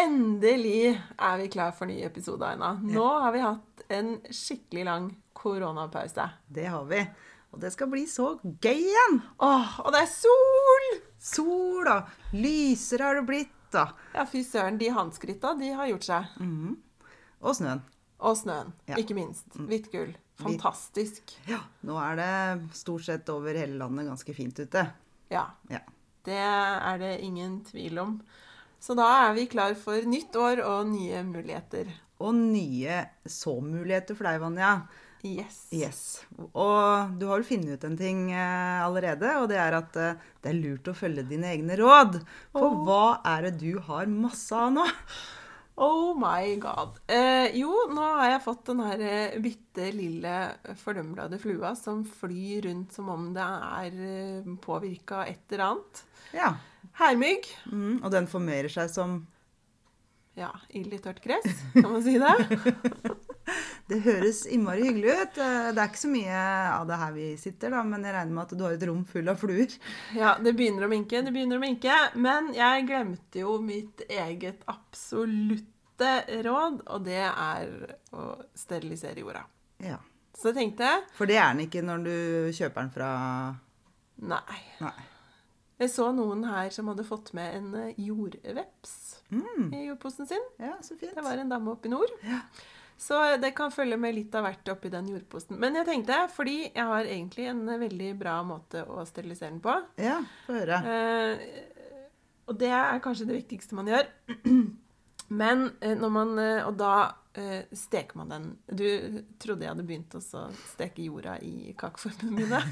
Endelig er vi klar for nye episoder, Aina. Nå har vi hatt en skikkelig lang koronapause. Det har vi. Og det skal bli så gøy igjen! Åh, og det er sol! Sola! Lysere har det blitt, da. Ja, fy søren, de handskrytta, de har gjort seg. Og snøen. Og snøen, Mm. Ja. ikke minst. Hvitt gull. Fantastisk. Ja, nå er det stort sett over hele landet ganske fint ute. Ja, Ja. det er det ingen tvil om. Så da er vi klar for nytt år og nye muligheter. Og nye såmuligheter for deg, Vanja. Yes. Yes. Og du har vel funnet ut en ting eh, allerede, og det er at eh, det er lurt å følge dine egne råd. For hva er det du har masse av nå? Oh my god. Eh, jo, nå har jeg fått den her eh, bitte lille fordømlede flua som flyr rundt som om det er påvirka et eller annet. Ja. Hermygg. Mm, og den formerer seg som Ja, ild i tørt gress, kan man si det? Det høres innmari hyggelig ut. Eh, Det er ikke så mye av det her vi sitter, da, men jeg regner med at du har et rom full av fluer. Ja, det begynner å minke, det begynner å minke. Men jeg glemte jo mitt eget absolutte råd, og det er å sterilisere jorda. Ja. Så jeg tenkte For det er den ikke når du kjøper den fra nei. Nei. Jeg så noen her som hadde fått med en eh, jordveps Mm. i jordposen sin. Ja, så fint. Det var en dame oppe i nord. Ja. Så eh, det kan følge med litt av hvert oppi den jordposten. Men jeg tenkte, fordi jeg har egentlig en eh, veldig bra måte å sterilisere den på Ja, få høre. eh, Og det er kanskje det viktigste man gjør. Men eh, når man eh, Og da eh, steker man den. Du trodde jeg hadde begynt også å steke jorda i kakeformene mine?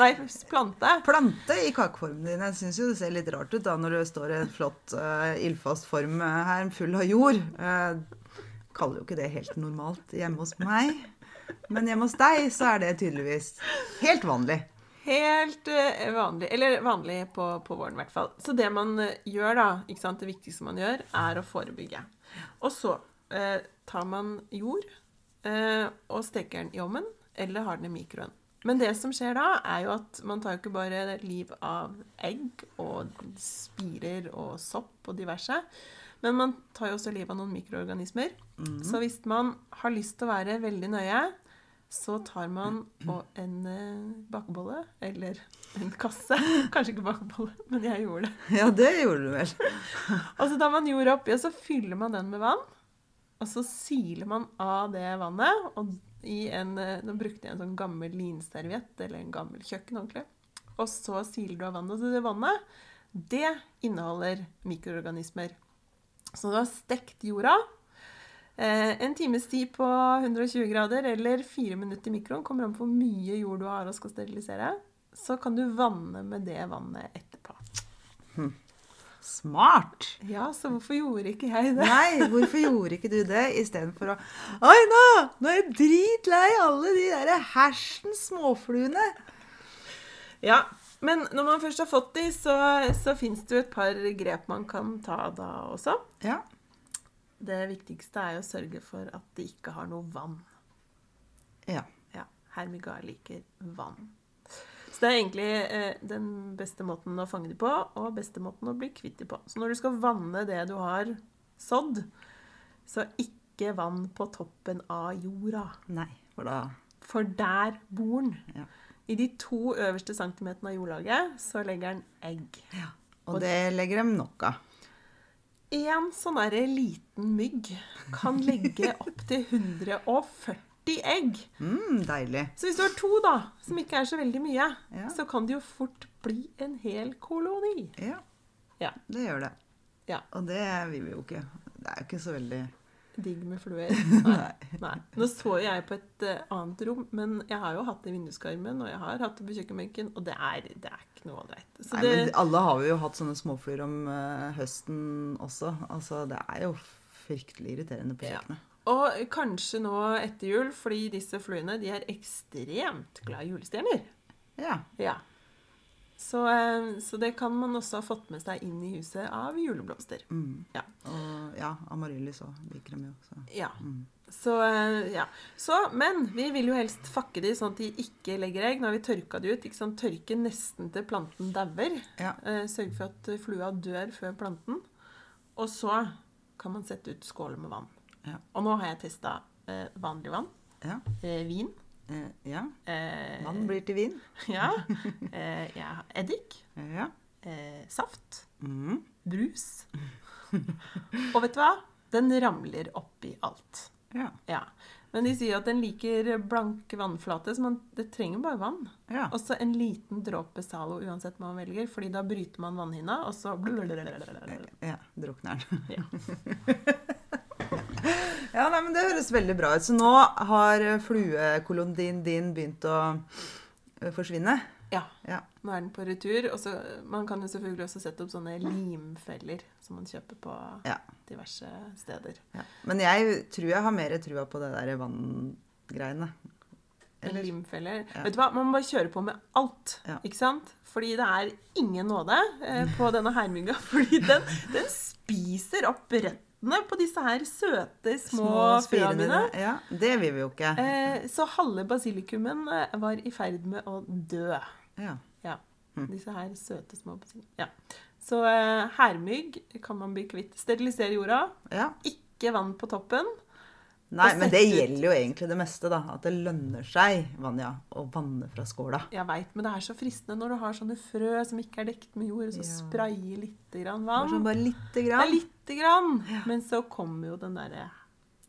Nei, plante. Plante i kakeformene dine. Jeg syns jo det ser litt rart ut da når det står en flott eh, ildfast form eh, her full av jord. Eh, kaller jo ikke det helt normalt hjemme hos meg. Men hjemme hos deg så er det tydeligvis helt vanlig. Helt eh, vanlig, eller vanlig på, på våren i hvert fall. Så det man eh, gjør da, ikke sant, det viktigste man gjør, er å forebygge. Og så eh, tar man jord eh, og steker den i ovnen, eller har den i mikroen. Men det som skjer da, er jo at man tar jo ikke bare liv av egg og spirer og sopp og diverse, men man tar jo også liv av noen mikroorganismer. Så hvis man har lyst til å være veldig nøye, så tar man og en eh, bakebolle, eller en kasse. Kanskje ikke bakebolle, men jeg gjorde det. Ja, det gjorde du vel. Og så tar Altså, man jord oppi, og så fyller man den med vann. Og så siler man av det vannet. Og i en, eh, nå brukte jeg en sånn gammel linserviett, eller en gammel kjøkkenhåndkle. Og så siler du av vannet. Så det vannet, det inneholder mikroorganismer. Så du har stekt jorda. Eh, en times tid på 120 grader eller fire minutter i mikroen kommer an på hvor mye jord du har og skal sterilisere. Så kan du vanne med det vannet etterpå. Smart. Ja, så hvorfor gjorde ikke jeg det? Nei, hvorfor gjorde ikke du det istedenfor å Aina, nå er jeg dritlei alle de derre hersens småfluene. Ja, Men når man først har fått de, så, så fins det jo et par grep man kan ta da også. Ja. Det viktigste er jo å sørge for at de ikke har noe vann. ja. Ja, Hermiga liker vann. Så det er egentlig eh, den beste måten å fange de på, og beste måten å bli kvitt de på. Så når du skal vanne det du har sådd, så ikke vann på toppen av jorda. Nei, for da For der bor den. Ja. I de to øverste centimeterne av jordlaget så legger den egg. ja. Og det legger dem nok av. En sånn derre liten mygg kan legge opptil 140 egg. Mm, deilig. Så hvis du har to, da, som ikke er så veldig mye, Ja. så kan det jo fort bli en hel koloni. Ja, Ja. det gjør det. ja. Og det vil vi jo ikke. Det er jo ikke så veldig Digg med fluer. Nei. Nei. Nå så jo jeg på et eh, annet rom, men jeg har jo hatt det i vinduskarmen, og jeg har hatt det på kjøkkenbenken, og det er, det er ikke noe ålreit. Så Nei, det men Alle har vi jo hatt sånne småfluer om eh, høsten også. Altså, det er jo fryktelig irriterende på Ja. kjøkkenet. Og kanskje nå etter jul, fordi disse fluene de er ekstremt glad i julestjerner. Ja. Ja. Så, eh, så det kan man også ha fått med seg inn i huset av juleblomster. Mm. Ja. Og ja, amaryllis òg liker dem jo. Så. mm. Ja. Så, eh, ja. så, men vi vil jo helst fakke de sånn at de ikke legger egg. Nå har vi tørka de ut. ikke sant? Tørke nesten til planten dauer. Ja. Eh, Sørge for at flua dør før planten. Og så kan man sette ut skåler med vann. Ja. Og nå har jeg testa eh, vanlig vann, Ja. eh, vin Eh, ja. eh, Vann blir til vin. ja, eh, jeg har eddik, Ja. eh, saft, Mm. brus. Og vet du hva? Den ramler oppi alt. Ja. Ja. Men de sier at den liker blanke vannflater, så man, det trenger bare vann. Ja. Og så en liten dråpe Zalo uansett hva man velger, fordi da bryter man vannhinna, og så Eh, Ja, drukner den. Ja. ja, nei, men det høres veldig bra ut. Så nå har eh, fluekolondien din begynt å eh, forsvinne. Ja. Ja. Nå er den på retur. Og så Man kan jo selvfølgelig også sette opp sånne limfeller som man kjøper på Ja. diverse steder. ja. Men jeg tror jeg har mer trua på det der vanngreiene. Eller, Eller? limfeller. Ja. Vet du hva, man må bare kjøre på med alt, Ja. ikke sant? Fordi det er ingen nåde eh, på denne hermygga, fordi den, den spiser opp røttene på disse her søte, små, frøene mine. dine. Ja, det vil vi jo ikke. Eh, så halve basilikumen eh, var i ferd med å dø. Ja. Ja. Hm. Disse her søte små basil- Ja. Så eh, hermygg kan man bli kvitt. Sterilisere jorda. ja. Ikke vann på toppen. Nei, Og men det sette ut- gjelder jo egentlig det meste, da. At det lønner seg, Vanja, å vanne fra skåla. Jeg veit, men det er så fristende når du har sånne frø som ikke er dekt med jord, og så Ja. sprayer litt grann Bare, sånn, vann. bare lite Det er grann. lite grann, men så kommer jo den derre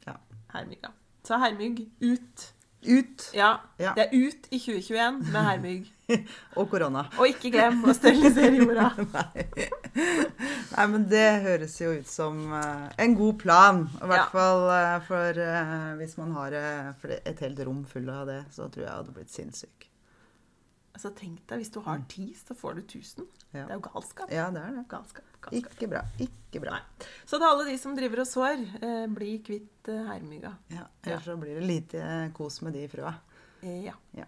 Ja. hermygga. Så hermygg ut. Ut. Ja, Ja. det er ut i 2021 med hermygg. Og korona. Og ikke glem å sterilisere jorda. Nei. Nei, men det høres jo ut som eh, en god plan. I hvert Ja. fall eh, for eh, hvis man har eh, fle- et helt rom full av det, så tror jeg jeg hadde blitt sinnssyk. Altså tenk deg, Hvis du har ti, så får du 1000. Mm. Ja. Det er jo galskap. Ja, det er det. galskap, galskap. Ikke bra. Ikke bra. Så til alle de som driver og sår, eh, bli kvitt eh, hermygga. Ja, ellers så blir det lite eh, kos med de frøa. Eh, ja. Ja.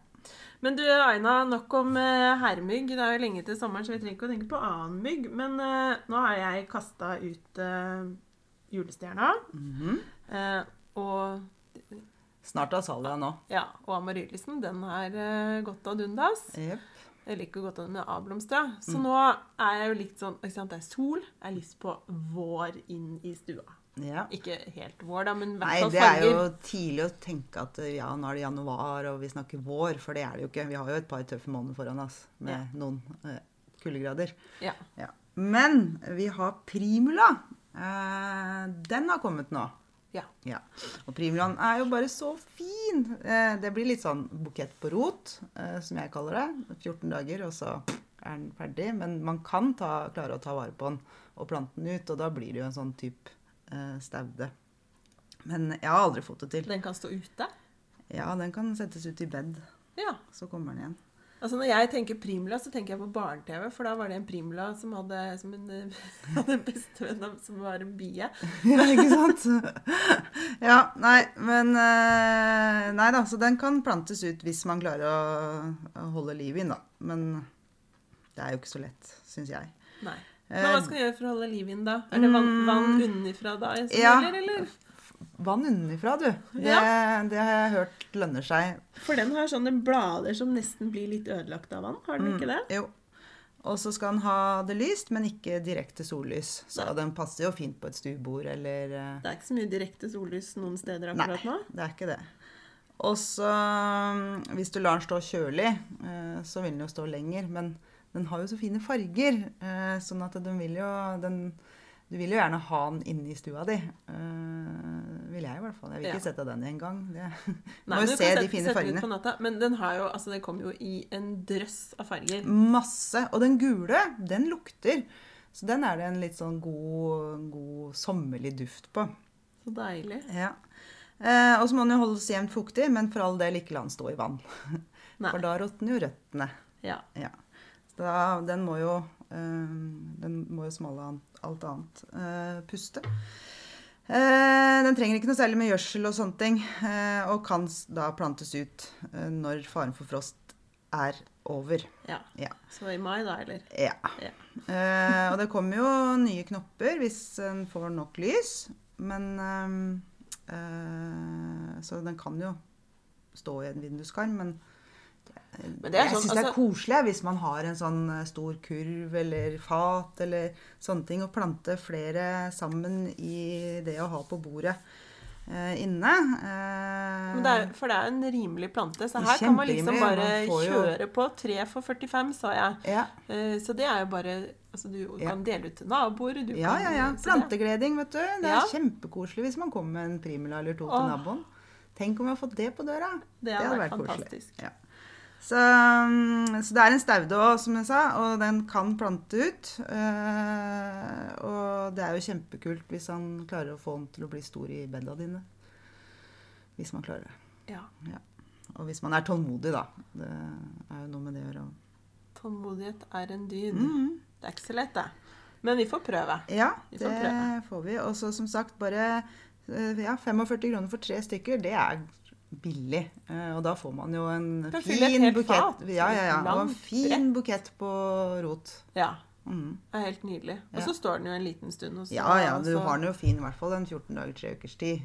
Men du Aina, nok om eh, herrmygg. Det er jo lenge til sommeren, så vi trenger ikke å tenke på annen mygg. Men eh, nå har jeg kasta ut eh, julestjerna. eh, og Mhm. Snart er Salia nå. ja, og amaryllisen, den er eh, gått ad undas. Jep. Jeg liker godt den med avblomstra. Så Mm. nå er jeg jo litt sånn ikke sant, Det er sol. Jeg har lyst på vår inn i stua. Ja. Ikke helt vår, da, men i Nei, hvert fall det er jo farger. tidlig å tenke at eh, ja, nå er det januar og vi snakker vår, for det er det jo ikke. Vi har jo et par tøffe måneder foran oss med noen eh, kuldegrader. Ja. Ja. Men vi har primula. Eh, den har kommet nå. ja. Ja. Og primulaen er jo bare så fin. Eh, det blir litt sånn bukett på rot, eh, som jeg kaller det. 14 dager, og så er den ferdig. Men man kan ta, klare å ta vare på den og plante den ut, og da blir det jo en sånn type eh, staude. Men jeg har aldri fått det til. Den kan stå ute. Ja, den kan settes ut i bed, Ja. så kommer den igjen. Altså Når jeg tenker primula, så tenker jeg på barne-TV. For da var det en primula som hadde som en, eh, hadde en bestevenn av- som var en bie. Ja, ikke sant? Ja, nei, men eh, Nei da, så den kan plantes ut hvis man klarer å- å holde liv i den, da. Men det er jo ikke så lett, syns jeg. Nei. Men hva Eh, skal jeg gjøre for å holde liv i den da? Er det vann, vann unnifra da? som Mm. Ja. gjelder, eller? Vann unnifra, du. Det, det har jeg hørt lønner seg. For den har sånne blader som nesten blir litt ødelagt av vann. Har den Mm. ikke det? Jo. Og så skal den ha det lyst, men ikke direkte sollys. Så den passer jo fint på et stuebord eller eh, Det er ikke så mye direkte sollys noen steder Nei, akkurat nå. det er ikke det. Og så mm, Hvis du lar den stå kjølig, eh, så vil den jo stå lenger. Men den har jo så fine farger, eh, sånn at den vil jo den, Du vil jo gjerne ha den inne i stua di. eh, Vil jeg i hvert fall. Jeg vil Ja. ikke sette den i en gang. Det. Du Nei, må men jo du kan se de sette- fine sette den ut fargene. På natta, men den har jo, altså, det kom jo i en drøss av farger. Masse. Og den gule, den lukter. Så den er det en litt sånn god, god sommerlig duft på. Så deilig. Ja. Eh, og så må den jo holdes jevnt fuktig, men for all del ikke la den stå i vann. Nei. For da råtner jo røttene. Ja. Ja. Så da, den må jo eh, Den må jo som alle an- alt annet eh, puste. Eh, den trenger ikke noe særlig med gjødsel og sånne ting, eh, og kan s- da plantes ut eh, når faren for frost er over. ja. Ja. Så i mai, da, eller? Ja. Ja. Eh, og det kommer jo nye knopper hvis en får nok lys. Men eh, ehm, eh, Så den kan jo stå i en vinduskarm, men Men det er Jeg sånn, syns det er altså- koselig jeg, hvis man har en sånn eh, stor kurv eller fat eller sånne ting, og plante flere sammen i det å ha på bordet eh, inne. Eh, Men det er, for det er en rimelig plante, så her kan man liksom Kjemperimelig, bare man får jo- kjøre på. Tre for 45, sa jeg. ja, Eh, Så det er jo bare Altså, du Ja. kan dele ut til naboer, du ja, kan ja, ja. så det- Plantegleding, vet du. Det Ja. er kjempekoselig hvis man kommer med en primula eller to Åh. til naboen. Tenk om vi har fått det på døra. Det hadde vært fantastisk. Ja. Så, mm, så det er en staude òg, som jeg sa, og den kan plante ut. Eh, og det er jo kjempekult hvis han klarer å få den til å bli stor i bedda dine. Hvis man klarer det. Ja. Og hvis man er tålmodig, da. Det er jo noe med det å gjøre. Tålmodighet er en dyn. Mm. Det er ikke så lett, det. Men vi får prøve. Ja, Vi får det prøve. får vi. Og så som sagt, bare eh, ja, 45 kroner for tre stykker, det er billig. Eh, Og da får man jo en Kan fylle et fin helt bukett. fat. Ja, ja, ja. Og en Langt, fin bukett på rot. Ja. Mm. Det er helt nydelig. Og Ja. så står den jo en liten stund hos Ja, ja, du så- altså- har den jo fin i hvert fall en 14 dager, tre ukers tid,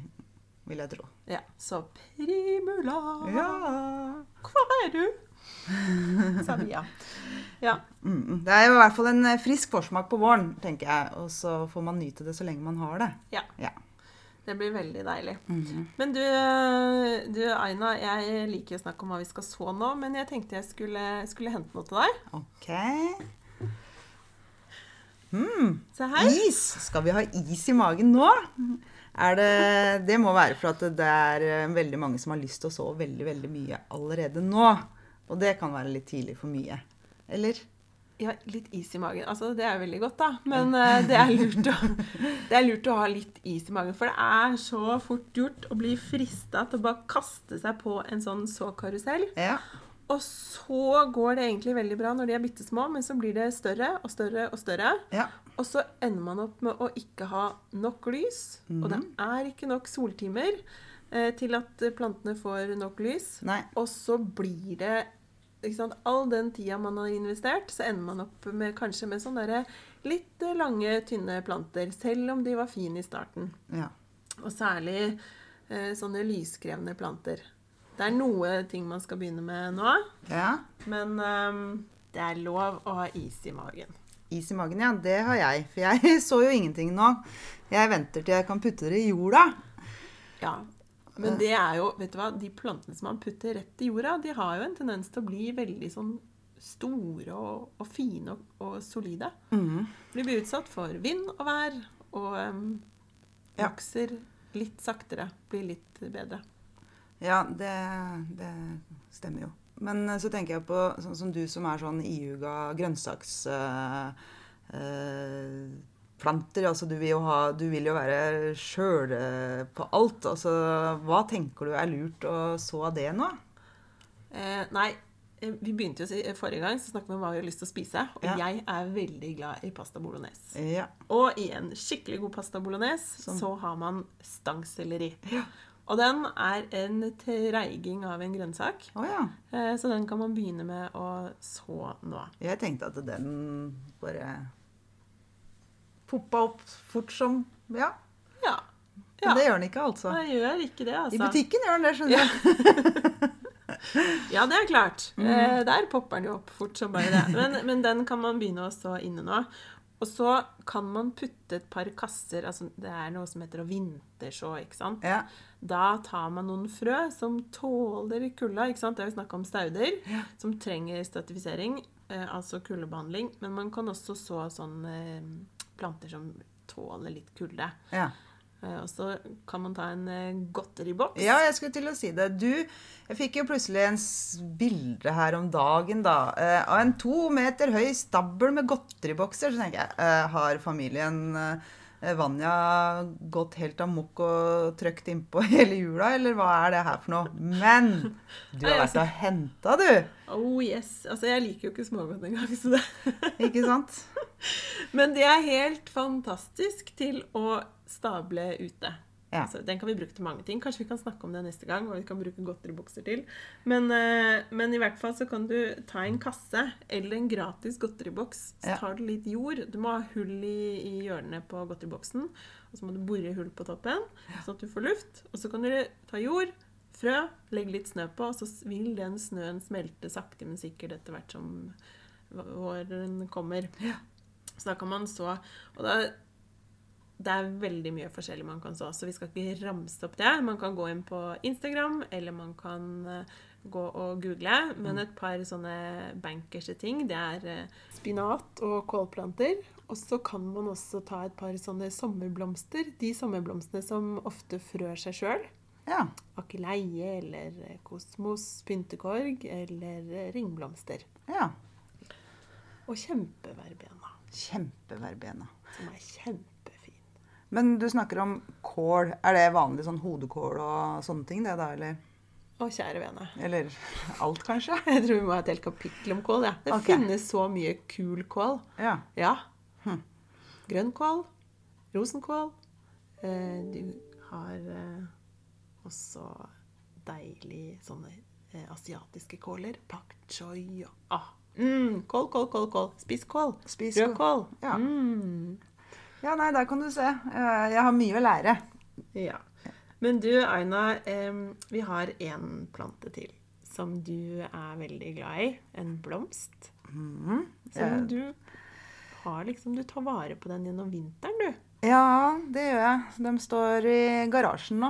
vil jeg tro. Ja. Så primula Ja. Hvor er du? sa vi, ja. Ja. Mm, det er jo i hvert fall en eh, frisk forsmak på våren, tenker jeg. Og så får man nyte det så lenge man har det. ja. Ja. Det blir veldig deilig. Mhm. Men du, du Aina, jeg liker å snakke om hva vi skal så nå, men jeg tenkte jeg skulle, skulle hente noe til deg. OK. Mm. Se her. Is! Skal vi ha is i magen nå? Er det, det må være for at det er eh, veldig mange som har lyst til å sove veldig, veldig mye allerede nå. Og det kan være litt tidlig for mye. Eller? Ja, litt is i magen. Altså, det er jo veldig godt, da. Men eh, det, er lurt å, det er lurt å ha litt is i magen. For det er så fort gjort å bli frista til å bare kaste seg på en sånn såkarusell. Ja. Og så går det egentlig veldig bra når de er bitte små, men så blir det større og større og større. ja. Og så ender man opp med å ikke ha nok lys, og det er ikke nok soltimer eh, til at plantene får nok lys. Nei. Og så blir det ikke sant, All den tida man har investert, så ender man opp med kanskje med sånne derre litt eh, lange, tynne planter. Selv om de var fine i starten. Ja. Og særlig eh, sånne lyskrevne planter. Det er noe ting man skal begynne med nå, ja. men ehm, det er lov å ha is i magen. Is i magen, ja. Det har jeg. For jeg så jo ingenting nå. Jeg venter til jeg kan putte det i jorda. Ja. Eh. Men det er jo, vet du hva, de plantene som man putter rett i jorda, de har jo en tendens til å bli veldig sånn store og, og fine og, og solide. Mhm. De blir utsatt for vind og vær, og em, Ja. vokser litt saktere, blir litt bedre. Ja, det, det stemmer jo. Men eh, så tenker jeg på sånn som du som er sånn iuga grønnsaksplanter. eh, altså du vil jo, ha, du vil jo være sjøl eh, på alt. Altså, hva tenker du er lurt å så av det nå? Eh, nei, eh, vi begynte jo å si- eh, forrige gang, så snakket vi om hva vi har lyst til å spise, og Ja. jeg er veldig glad i pasta bolognese. Ja. Og i en skikkelig god pasta bolognese Som- så har man stangselleri. Ja. Og den er en treiging av en grønnsak. Å ja. Eh, Så den kan man begynne med å så nå. Jeg tenkte at den bare poppa opp fort som Ja. Ja. Men ja. det gjør den ikke, altså. Nei, gjør ikke det, I altså. butikken gjør den det, skjønner du. Ja, det er klart. Mhm. Eh, der popper den jo opp fort som bare det. Men, men den kan man begynne å så inne nå. Og så kan man putte et par kasser altså Det er noe som heter å vinterså, ikke sant? Ja. Da tar man noen frø som tåler kulda, ikke sant? Det er jo snakk om stauder, som trenger støtifisering, eh, altså kuldebehandling. Men man kan også så sånne eh, planter som tåler litt kulde. Ja. Eh, Og så kan man ta en eh, godteriboks. ja, jeg skulle til å si det. Du, jeg fikk jo plutselig en s- bilde her om dagen, da. eh, Av en to meter høy stabel med godteribokser. Så tenker jeg, eh, har familien eh, Vanja gått helt amok og trøkt innpå hele jula, eller hva er det her for noe? Men du har vært og henta, du! Oh yes. Altså, jeg liker jo ikke smågodt engang, så det Ikke sant? Men det er helt fantastisk til å stable ute. Ja. Altså, den kan vi bruke til mange ting. Kanskje vi kan snakke om det neste gang. hva vi kan bruke godteribokser til. Men, eh, men i hvert fall så kan du ta en kasse eller en gratis godteriboks. Så Ja. tar du litt jord. Du må ha hull i, i hjørnene på godteriboksen. Og så må du bore hull på toppen, sånn at du får luft. Og så kan du ta jord, frø, legg litt snø på, og så vil den snøen smelte sakte, men sikkert etter hvert som våren kommer. Så da kan man så Og da det er veldig mye forskjellig man kan så, så vi skal ikke ramse opp det. Man kan gå inn på Instagram, eller man kan eh, gå og google. Men et par sånne bankerse ting, det er eh, spinat og kålplanter. Og så kan man også ta et par sånne sommerblomster. De sommerblomstene som ofte frør seg sjøl. Ja. Akeleie eller eh, kosmos, pyntekorg eller eh, ringblomster. ja. Og kjempeverbena, Kjempeverbena. som er kjempefin. Men du snakker om kål. Er det vanlig sånn hodekål og sånne ting, det da? Eller, Å, kjære vene. eller alt, kanskje? Jeg tror vi må ha et helt kapittel om kål. Ja. Det Ok. finnes så mye kul kål. Ja. Ja. Hm. Grønnkål, rosenkål. Eh, du har eh, også deilig sånne eh, asiatiske kåler. Pak choi og ah. mm, Kål, kål, kål, kål. Spisskål. Spiss Rødkål. Ja. Mm. ja, nei, der kan du se. Eh, Jeg har mye å lære. Ja. Men du, Aina, em, vi har en plante til som du er veldig glad i. En blomst. Mm. Som du har liksom Du tar vare på den gjennom vinteren, du. Ja, det gjør jeg. De står i garasjen nå.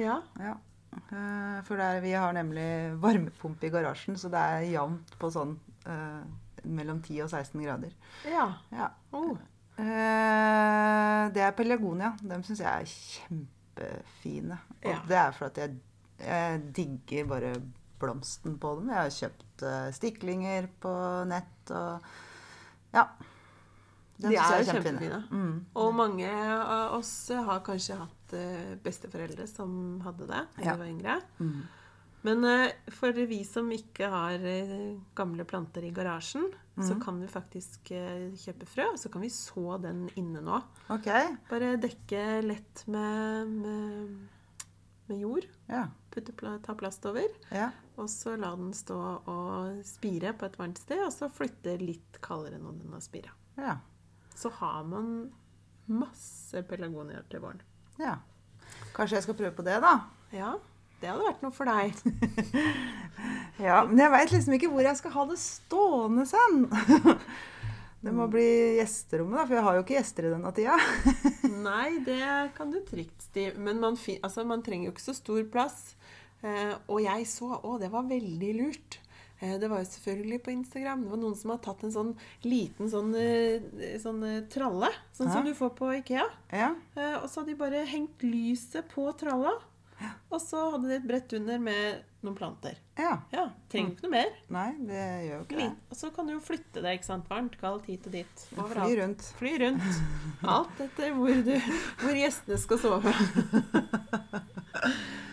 Ja. Ja. Eh, For der, vi har nemlig varmepumpe i garasjen, så det er jevnt på sånn eh, mellom 10 og 16 grader. ja. Ja. Oh. Eh, det er pelargonia. Dem syns jeg er kjempefine. Og Ja. det er for at jeg, jeg digger bare blomsten på dem. Jeg har kjøpt eh, stiklinger på nett og Ja. Dem De synes er jeg jo kjempefine. Mm. Og mange av oss har kanskje hatt eh, besteforeldre som hadde det da Ja. de var yngre. Mm. Men eh, for vi som ikke har eh, gamle planter i garasjen, Mm. så kan vi faktisk eh, kjøpe frø, og så kan vi så den inne nå. OK. Bare dekke lett med, med, med jord. Ja. Putte, pla- ta plast over. ja. Og så la den stå og spire på et varmt sted, og så flytte litt kaldere når den har spira. Ja. Så har man masse pelargonier til våren. Ja. Kanskje jeg skal prøve på det, da. Ja, det hadde vært noe for deg. Ja, Men jeg veit liksom ikke hvor jeg skal ha det stående sen. Det Mm. må bli gjesterommet, da, for jeg har jo ikke gjester i denne tida. Nei, det kan du trygt, Stiv. Men man, fin altså, man trenger jo ikke så stor plass. Eh, og jeg så Å, det var veldig lurt. Eh, det var jo selvfølgelig på Instagram. Det var noen som har tatt en sånn liten sånn, eh, sånn eh, tralle. Sånn Ja. som du får på Ikea. Ja. Eh, og så hadde de bare hengt lyset på tralla. Og så hadde de et brett under med noen planter. ja. Ja, trenger ikke noe mer. Nei, det gjør jo ikke det. Li- Og så kan du jo flytte deg, ikke sant. Varmt, kaldt, hit og dit. Fly Overalt. rundt. Fly rundt. Alt etter hvor, du, hvor gjestene skal sove.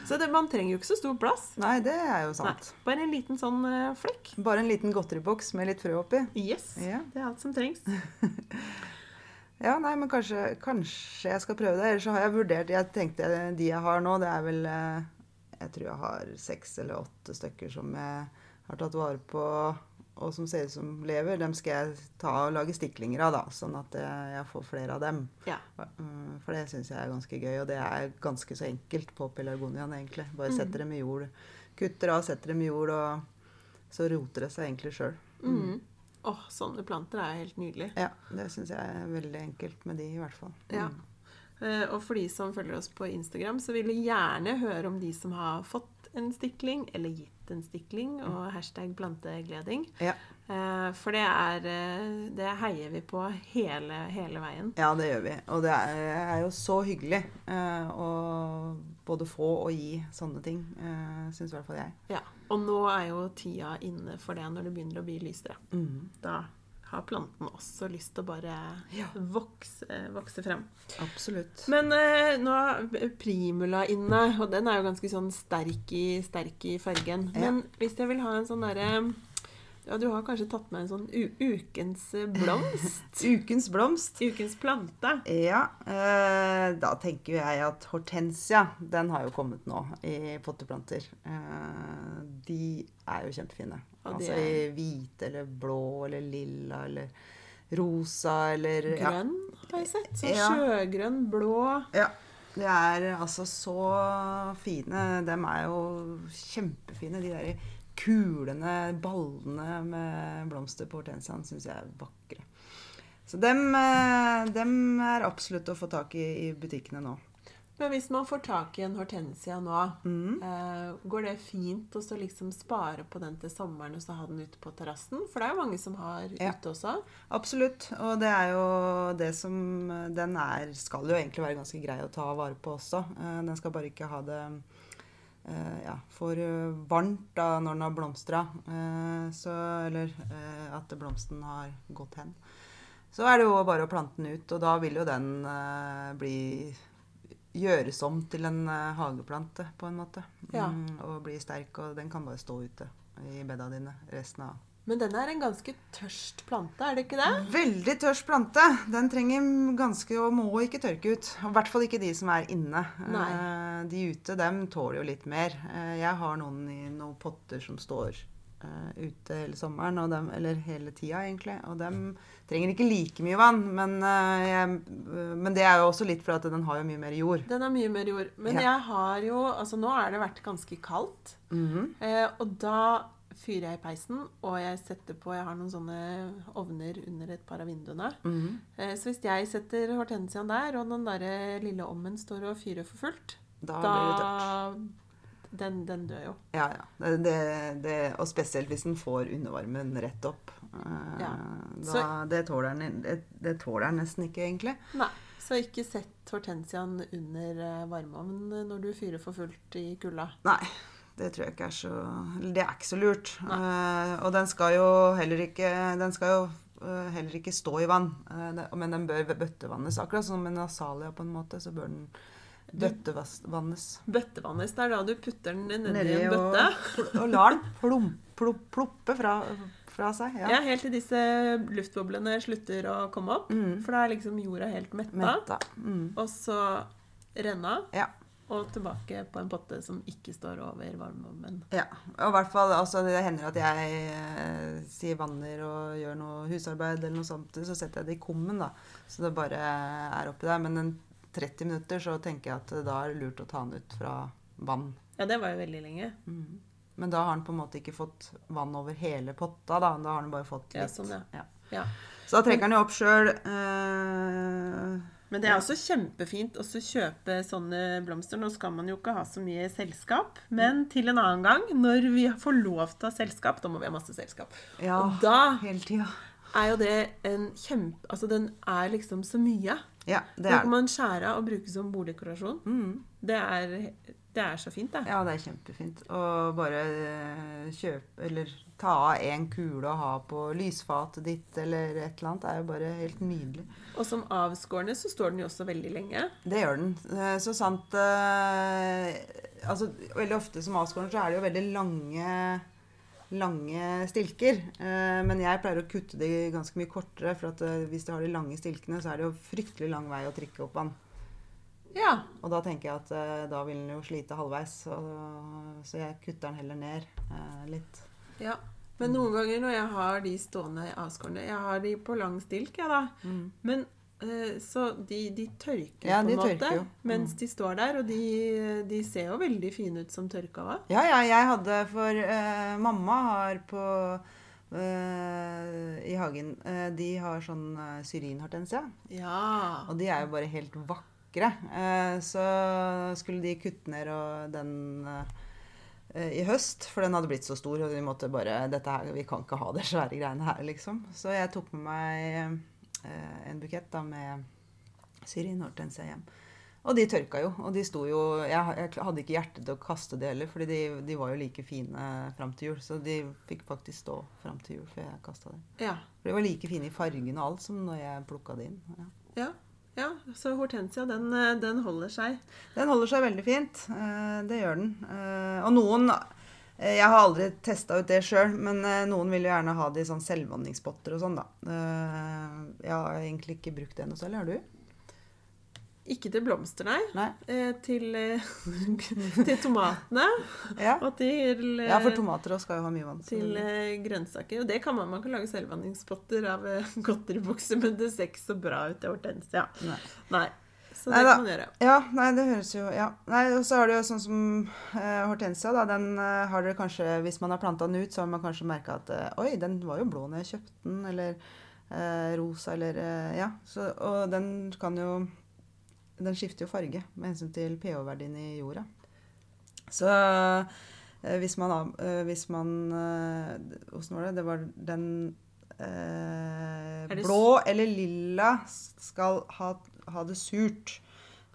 Så det, man trenger jo ikke så stor plass. Nei, det er jo Nei, sant. bare en liten sånn eh, flekk. Bare en liten godteriboks med litt frø oppi. Yes. Ja. Det er alt som trengs. Ja, nei, men kanskje, kanskje jeg skal prøve det. Ellers så har jeg vurdert Jeg tenkte de jeg har nå, det er vel eh, Jeg tror jeg har seks eller åtte stykker som jeg har tatt vare på, og som ser ut som lever. Dem skal jeg ta og lage stiklinger av, da, sånn at eh, jeg får flere av dem. Ja. Mm, For det syns jeg er ganske gøy, og det er ganske så enkelt på pelargoniaen, egentlig. Bare Mm. setter dem i jord. Kutter av, setter dem i jord, og så roter det seg egentlig sjøl. Mm. Åh, sånne planter er helt nydelig. Ja, det syns jeg er veldig enkelt med de, i hvert fall. Mm. Ja. Eh, Og for de som følger oss på Instagram, så vil jeg gjerne høre om de som har fått en stikling, eller gitt en stikling, og hashtag plantegleding. Mm. Ja. Eh, For det er eh, Det heier vi på hele, hele veien. Ja, det gjør vi. Og det er, er jo så hyggelig eh, å både få og gi sånne ting. Eh, syns i hvert fall jeg. Ja. Og nå er jo tida inne for det, når det begynner å bli lysere. Da har planten også lyst til å bare Ja. vokse, eh, vokse frem. Absolutt. Men eh, nå er primula inne, og den er jo ganske sånn sterk i, sterk i fargen. Ja. Men hvis jeg vil ha en sånn derre Ja, du har kanskje tatt med en sånn u ukens eh, blomst? Ukens blomst. ukens plante. Ja, eh, da tenker jeg at hortensia, den har jo kommet nå i potteplanter. Eh, de er jo kjempefine. Og de Altså i hvite eller blå eller lilla eller rosa eller ja. Grønn, har jeg sett. Sånn Ja. sjøgrønn, blå. Ja. De er altså så fine. De er jo kjempefine. De der kulene, ballene med blomster på hortensiaen syns jeg er vakre. Så dem, eh, dem er absolutt å få tak i i butikkene nå. Men hvis man får tak i en hortensia nå, Mm. eh, går det fint å så liksom spare på den til sommeren og så ha den ute på terrassen? For det er jo mange som har Ja. ute også. Absolutt. Og det er jo det som Den er skal jo egentlig være ganske grei å ta vare på også. Eh, Den skal bare ikke ha det eh, ja, for eh, varmt da når den har blomstra. eh, Så Eller eh, at blomsten har gått hen. Så er det jo bare å plante den ut, og da vil jo den eh, bli Gjøres om til en eh, hageplante, på en måte. Ja. Mm, og bli sterk, og den kan bare stå ute i bedda dine resten av Men den er en ganske tørst plante, er det ikke det? Veldig tørst plante. Den trenger ganske og må ikke tørke ut. Og I hvert fall ikke de som er inne. Nei. Eh, De ute, dem tåler jo litt mer. Eh, Jeg har noen i noen potter som står eh, ute hele sommeren, og dem, eller hele tida egentlig, og dem trenger ikke like mye vann. Men, eh, jeg, men det er jo også litt for at den har jo mye mer jord. Den er mye mer jord. Men Ja. jeg har jo Altså, nå har det vært ganske kaldt. Mhm. Eh, og da fyrer jeg i peisen, og jeg setter på Jeg har noen sånne ovner under et par av vinduene. Mhm. Eh, så hvis jeg setter hortensiaen der, og den derre lille ommen står og fyrer for fullt, Da blir det tørt. da den, den dør jo. Ja, ja. Det, det, det, og spesielt hvis den får undervarmen rett opp. Eh, Ja. Da, Så- det, tåler den, det, det tåler den nesten ikke, egentlig. Nei. Så ikke sett hortensiaen under eh, varmeovnen når du fyrer for fullt i kulda. Nei, det tror jeg ikke er så eller Det er ikke så lurt. Eh, og den skal jo heller ikke Den skal jo eh, heller ikke stå i vann, Eh, det, men den bør bøttevannes. Akkurat som en asalia, på en måte, så bør den bøttevannes. Bøttevannes, det er da du putter den nedi ned i Nedi en og, bøtte. og lar den plom, plom, ploppe fra, fra seg. Ja. Ja. helt til disse luftboblene slutter å komme opp. Mm. For da er liksom jorda helt metta. Metta. Mm. Og så renna, Ja. og tilbake på en potte som ikke står over varmeovnen. Ja, og i hvert fall, altså det hender at jeg eh, sier vanner og gjør noe husarbeid eller noe sånt, så setter jeg det i kummen da, så det bare er oppi der. Men en 30 minutter så tenker jeg at eh, da er det lurt å ta den ut fra vann. Ja, det var jo veldig lenge. Men da har den på en måte ikke fått vann over hele potta da, da har den bare fått Ja, litt. sånn, ja. Ja. Ja. Så da trekker den jo opp selv. Eh, Men det er også kjempefint å så kjøpe sånne blomster. Nå skal man jo ikke ha så mye selskap, men til en annen gang, når vi får lov til å ha selskap, da må vi ha masse selskap. ja, Og da hele tiden. er jo det en kjempe... Altså, den er liksom så mye. Ja, det Den er kan det. man skjære av og bruke som borddekorasjon. Mm. Det er, det er så fint, det. Ja, det er kjempefint. Og bare eh, kjøpe eller ta av en kule og ha på lysfatet ditt eller et eller annet. Det er jo bare helt nydelig. Og som avskårne så står den jo også veldig lenge. Det gjør den. Eh, Så sant eh, Altså, veldig ofte som avskåren så er det jo veldig lange lange stilker, Eh, men jeg pleier å kutte de ganske mye kortere, for at eh, hvis du har de lange stilkene, så er det jo fryktelig lang vei å trykke opp vann. Ja. Og da tenker jeg at eh, da vil den jo slite halvveis, og, så jeg kutter den heller ned eh, litt. ja. Men noen ganger når jeg har de stående avskårne Jeg har de på lang stilk, jeg, da. Men eh, så de, de tørker Ja, på de en måte tørker jo. Mm. mens de står der, og de, de ser jo veldig fine ut som tørka vann. Ja, ja, jeg hadde for eh, Mamma har på eh, I hagen eh, De har sånn eh, syrinhortensia. Ja. Og de er jo bare helt vakre. Eh, så skulle de kutte ned og den eh, i høst, for den hadde blitt så stor, og de måtte bare Dette her, vi kan ikke ha det svære greiene her, liksom. Så jeg tok med meg eh, en bukett da med syrinhortensia hjem. Og de tørka jo, og de sto jo Jeg, jeg hadde ikke hjerte til å kaste de heller, fordi de, de var jo like fine fram til jul, så de fikk faktisk stå fram til jul før jeg kasta dem. Ja. For de var like fine i fargen og alt som når jeg plukka de inn. Ja. ja. ja. Så hortensia, den, eh, den holder seg. Den holder seg veldig fint. eh, Det gjør den. Eh, Og noen eh, Jeg har aldri testa ut det sjøl, men eh, noen vil jo gjerne ha det i sånn selvvanningspotter og sånn, da. Eh, Jeg har egentlig ikke brukt det noe selv. Har du? Ikke til blomster, nei. Nei. Eh, til, eh, til tomatene. Ja, Og til eh, ja for tomater også skal jo ha mye vann. så til det- eh, grønnsaker. Og det kan man, man kan lage selvvanningspotter av eh, godteribukser, men det ser ikke så bra ut i hortensia. Nei. Nei. Så det Neida. kan man gjøre. Ja, nei, det høres jo ja. Nei, og så har du jo sånn som eh, hortensia, da. Den eh, har dere kanskje Hvis man har planta den ut, så har man kanskje merka at eh, Oi, den var jo blå når jeg kjøpte den, eller eh, rosa, eller eh, Ja. Så, og den kan jo Den skifter jo farge med hensyn til pH-verdien i jorda. Så eh, hvis man av- eh, Hvis man Åssen var det? Det var den eh, Er det s- Blå eller lilla skal ha, ha det surt.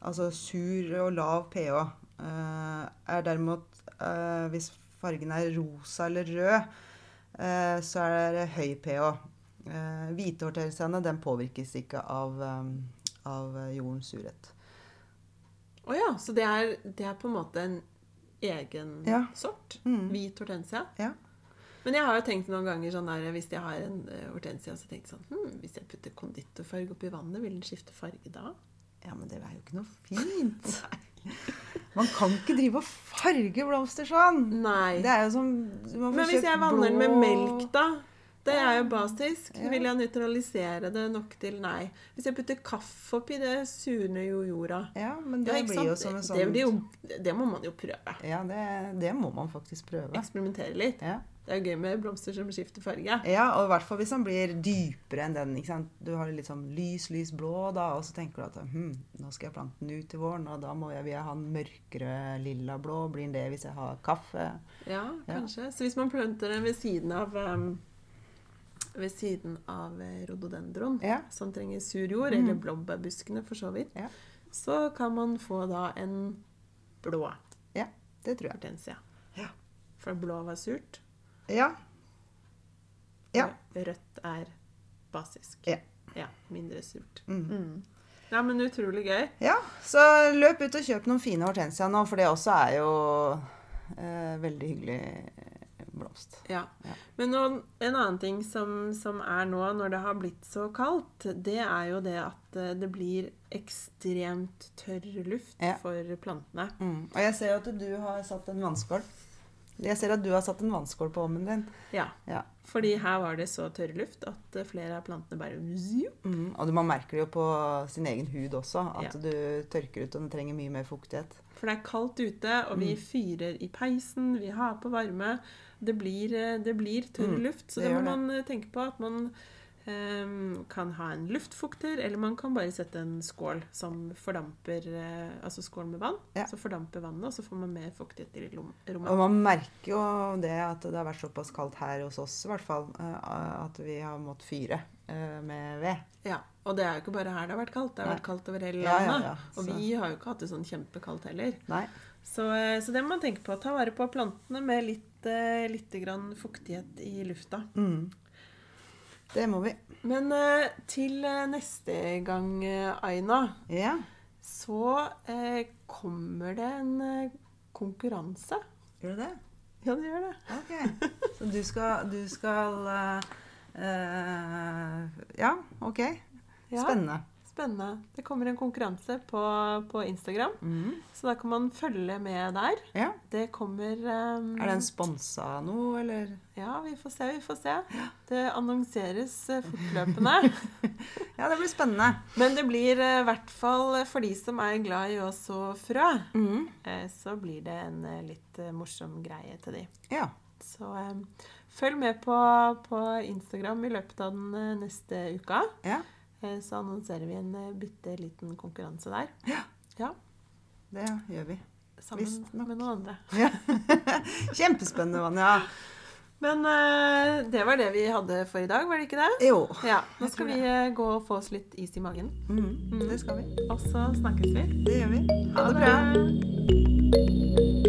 Altså sur og lav pH. eh, er derimot eh, Hvis fargen er rosa eller rød, eh, så er det høy pH. Uh, Hvithortensiaene den påvirkes ikke av, eh, av jordens surhet. Å ja, så det er, det er på en måte en egen Ja. sort? Mm. Hvit hortensia? Ja. Men jeg har jo tenkt noen ganger sånn der, hvis jeg har en eh, hortensia, så tenker jeg sånn hm, Hvis jeg putter konditorfarge oppi vannet, vil den skifte farge da? Ja, men det er jo ikke noe fint. Man kan ikke drive og farge blomster sånn. Nei. Det er jo som man får Men hvis kjøpt jeg vanner den med blå- melk, da? Det er jo basisk. Ja. Vil jeg nøytralisere det nok til Nei. Hvis jeg putter kaffe oppi, det surner jo jorda. Ja, men Ja, det ikke blir jo sant? som en sånn det, blir jo, det må man jo prøve. Ja, det, det må man faktisk prøve. Eksperimentere litt. Ja. Det er jo gøy med blomster som skifter farge. ja, og i hvert fall hvis den blir dypere enn den. ikke sant? Du har litt sånn lys, lys blå, da, og så tenker du at hm, nå skal jeg plante den ut i våren, og da må jeg, vil jeg ha en mørkere lilla blå. Blir den det hvis jeg har kaffe? Ja, kanskje. Så hvis man planter den ved siden av em, ved siden av eh, rododendron, Ja. Mm. som trenger sur jord, eller blåbærbuskene for så vidt, Ja. så kan man få da en blå Ja, det tror jeg. hortensia. Ja. For blå var surt, Ja. Ja. og rødt er basisk. Ja. Ja, mindre surt. Mm. Ja, men utrolig gøy. Ja, så løp ut og kjøp noen fine hortensia nå, for det også er jo eh, veldig hyggelig blomst. Ja. Ja. Men nå, en annen ting som, som er nå når det har blitt så kaldt, det er jo det at eh, det blir ekstremt tørr luft Ja. for plantene. Mm. Og jeg ser jo at du har satt en vannskål. Jeg ser at du har satt en vannskål på ommen din. Ja, Ja. fordi her var det så tørr luft at eh, flere av plantene bare zjup. Mm. Og du, man merker det jo på sin egen hud også, at Ja. du tørker ut og den trenger mye mer fuktighet. For det er kaldt ute, og Mm. vi fyrer i peisen, vi har på varme. Det blir, eh, det blir tørr Mm, luft, så det det, må gjør det. man eh, tenke på at man ehm, kan ha en luftfukter, eller man kan bare sette en skål som fordamper eh, Altså skål med vann, Ja. så fordamper vannet, og så får man mer fuktighet i lom- Og rommet. man merker jo det at det har vært såpass kaldt her hos oss i hvert fall, eh, at vi har måttet fyre eh, med ved. Ja, og det er jo ikke bare her det har vært kaldt, det har Nei. vært kaldt over hele Ja, ja, landet. ja, så- Og vi har jo ikke hatt det sånn kjempekaldt heller. Nei. Så, eh, så det må man tenke på. Ta vare på plantene med litt, eh, lite grann fuktighet i lufta. Mm. Det må vi. Men eh, til eh, neste gang, eh, Aina, Ja. så eh, kommer det en eh, konkurranse. Gjør du det? Ja, det gjør det. Ok. Så du skal, du skal eh, eh, Ja, OK. Ja, Spennende. Spennende. Det kommer en konkurranse på, på Instagram, Mhm. så da kan man følge med der. Ja. Det kommer eh, Er den sponsa av noe, eller? Ja, vi får se, vi får se. Det annonseres eh, fortløpende. Ja, det blir spennende. Men det blir eh, i hvert fall for de som er glad i å så frø, Mhm. eh, så blir det en eh, litt eh, morsom greie til de. Ja. Så em, følg med på, på Instagram i løpet av den eh, neste uka. ja. Eh, så annonserer vi en eh, bitte liten konkurranse der. Ja. Ja, Det gjør vi. sammen Visst nok. med noen andre. Ja. Kjempespennende, Vanja. Men eh, det var det vi hadde for i dag, var det ikke det? Jo. Ja, Nå Jeg skal tror vi eh, gå og få oss litt is i magen, Mhm. Det skal vi. og så snakkes vi. Det gjør vi. Ha det bra. bra.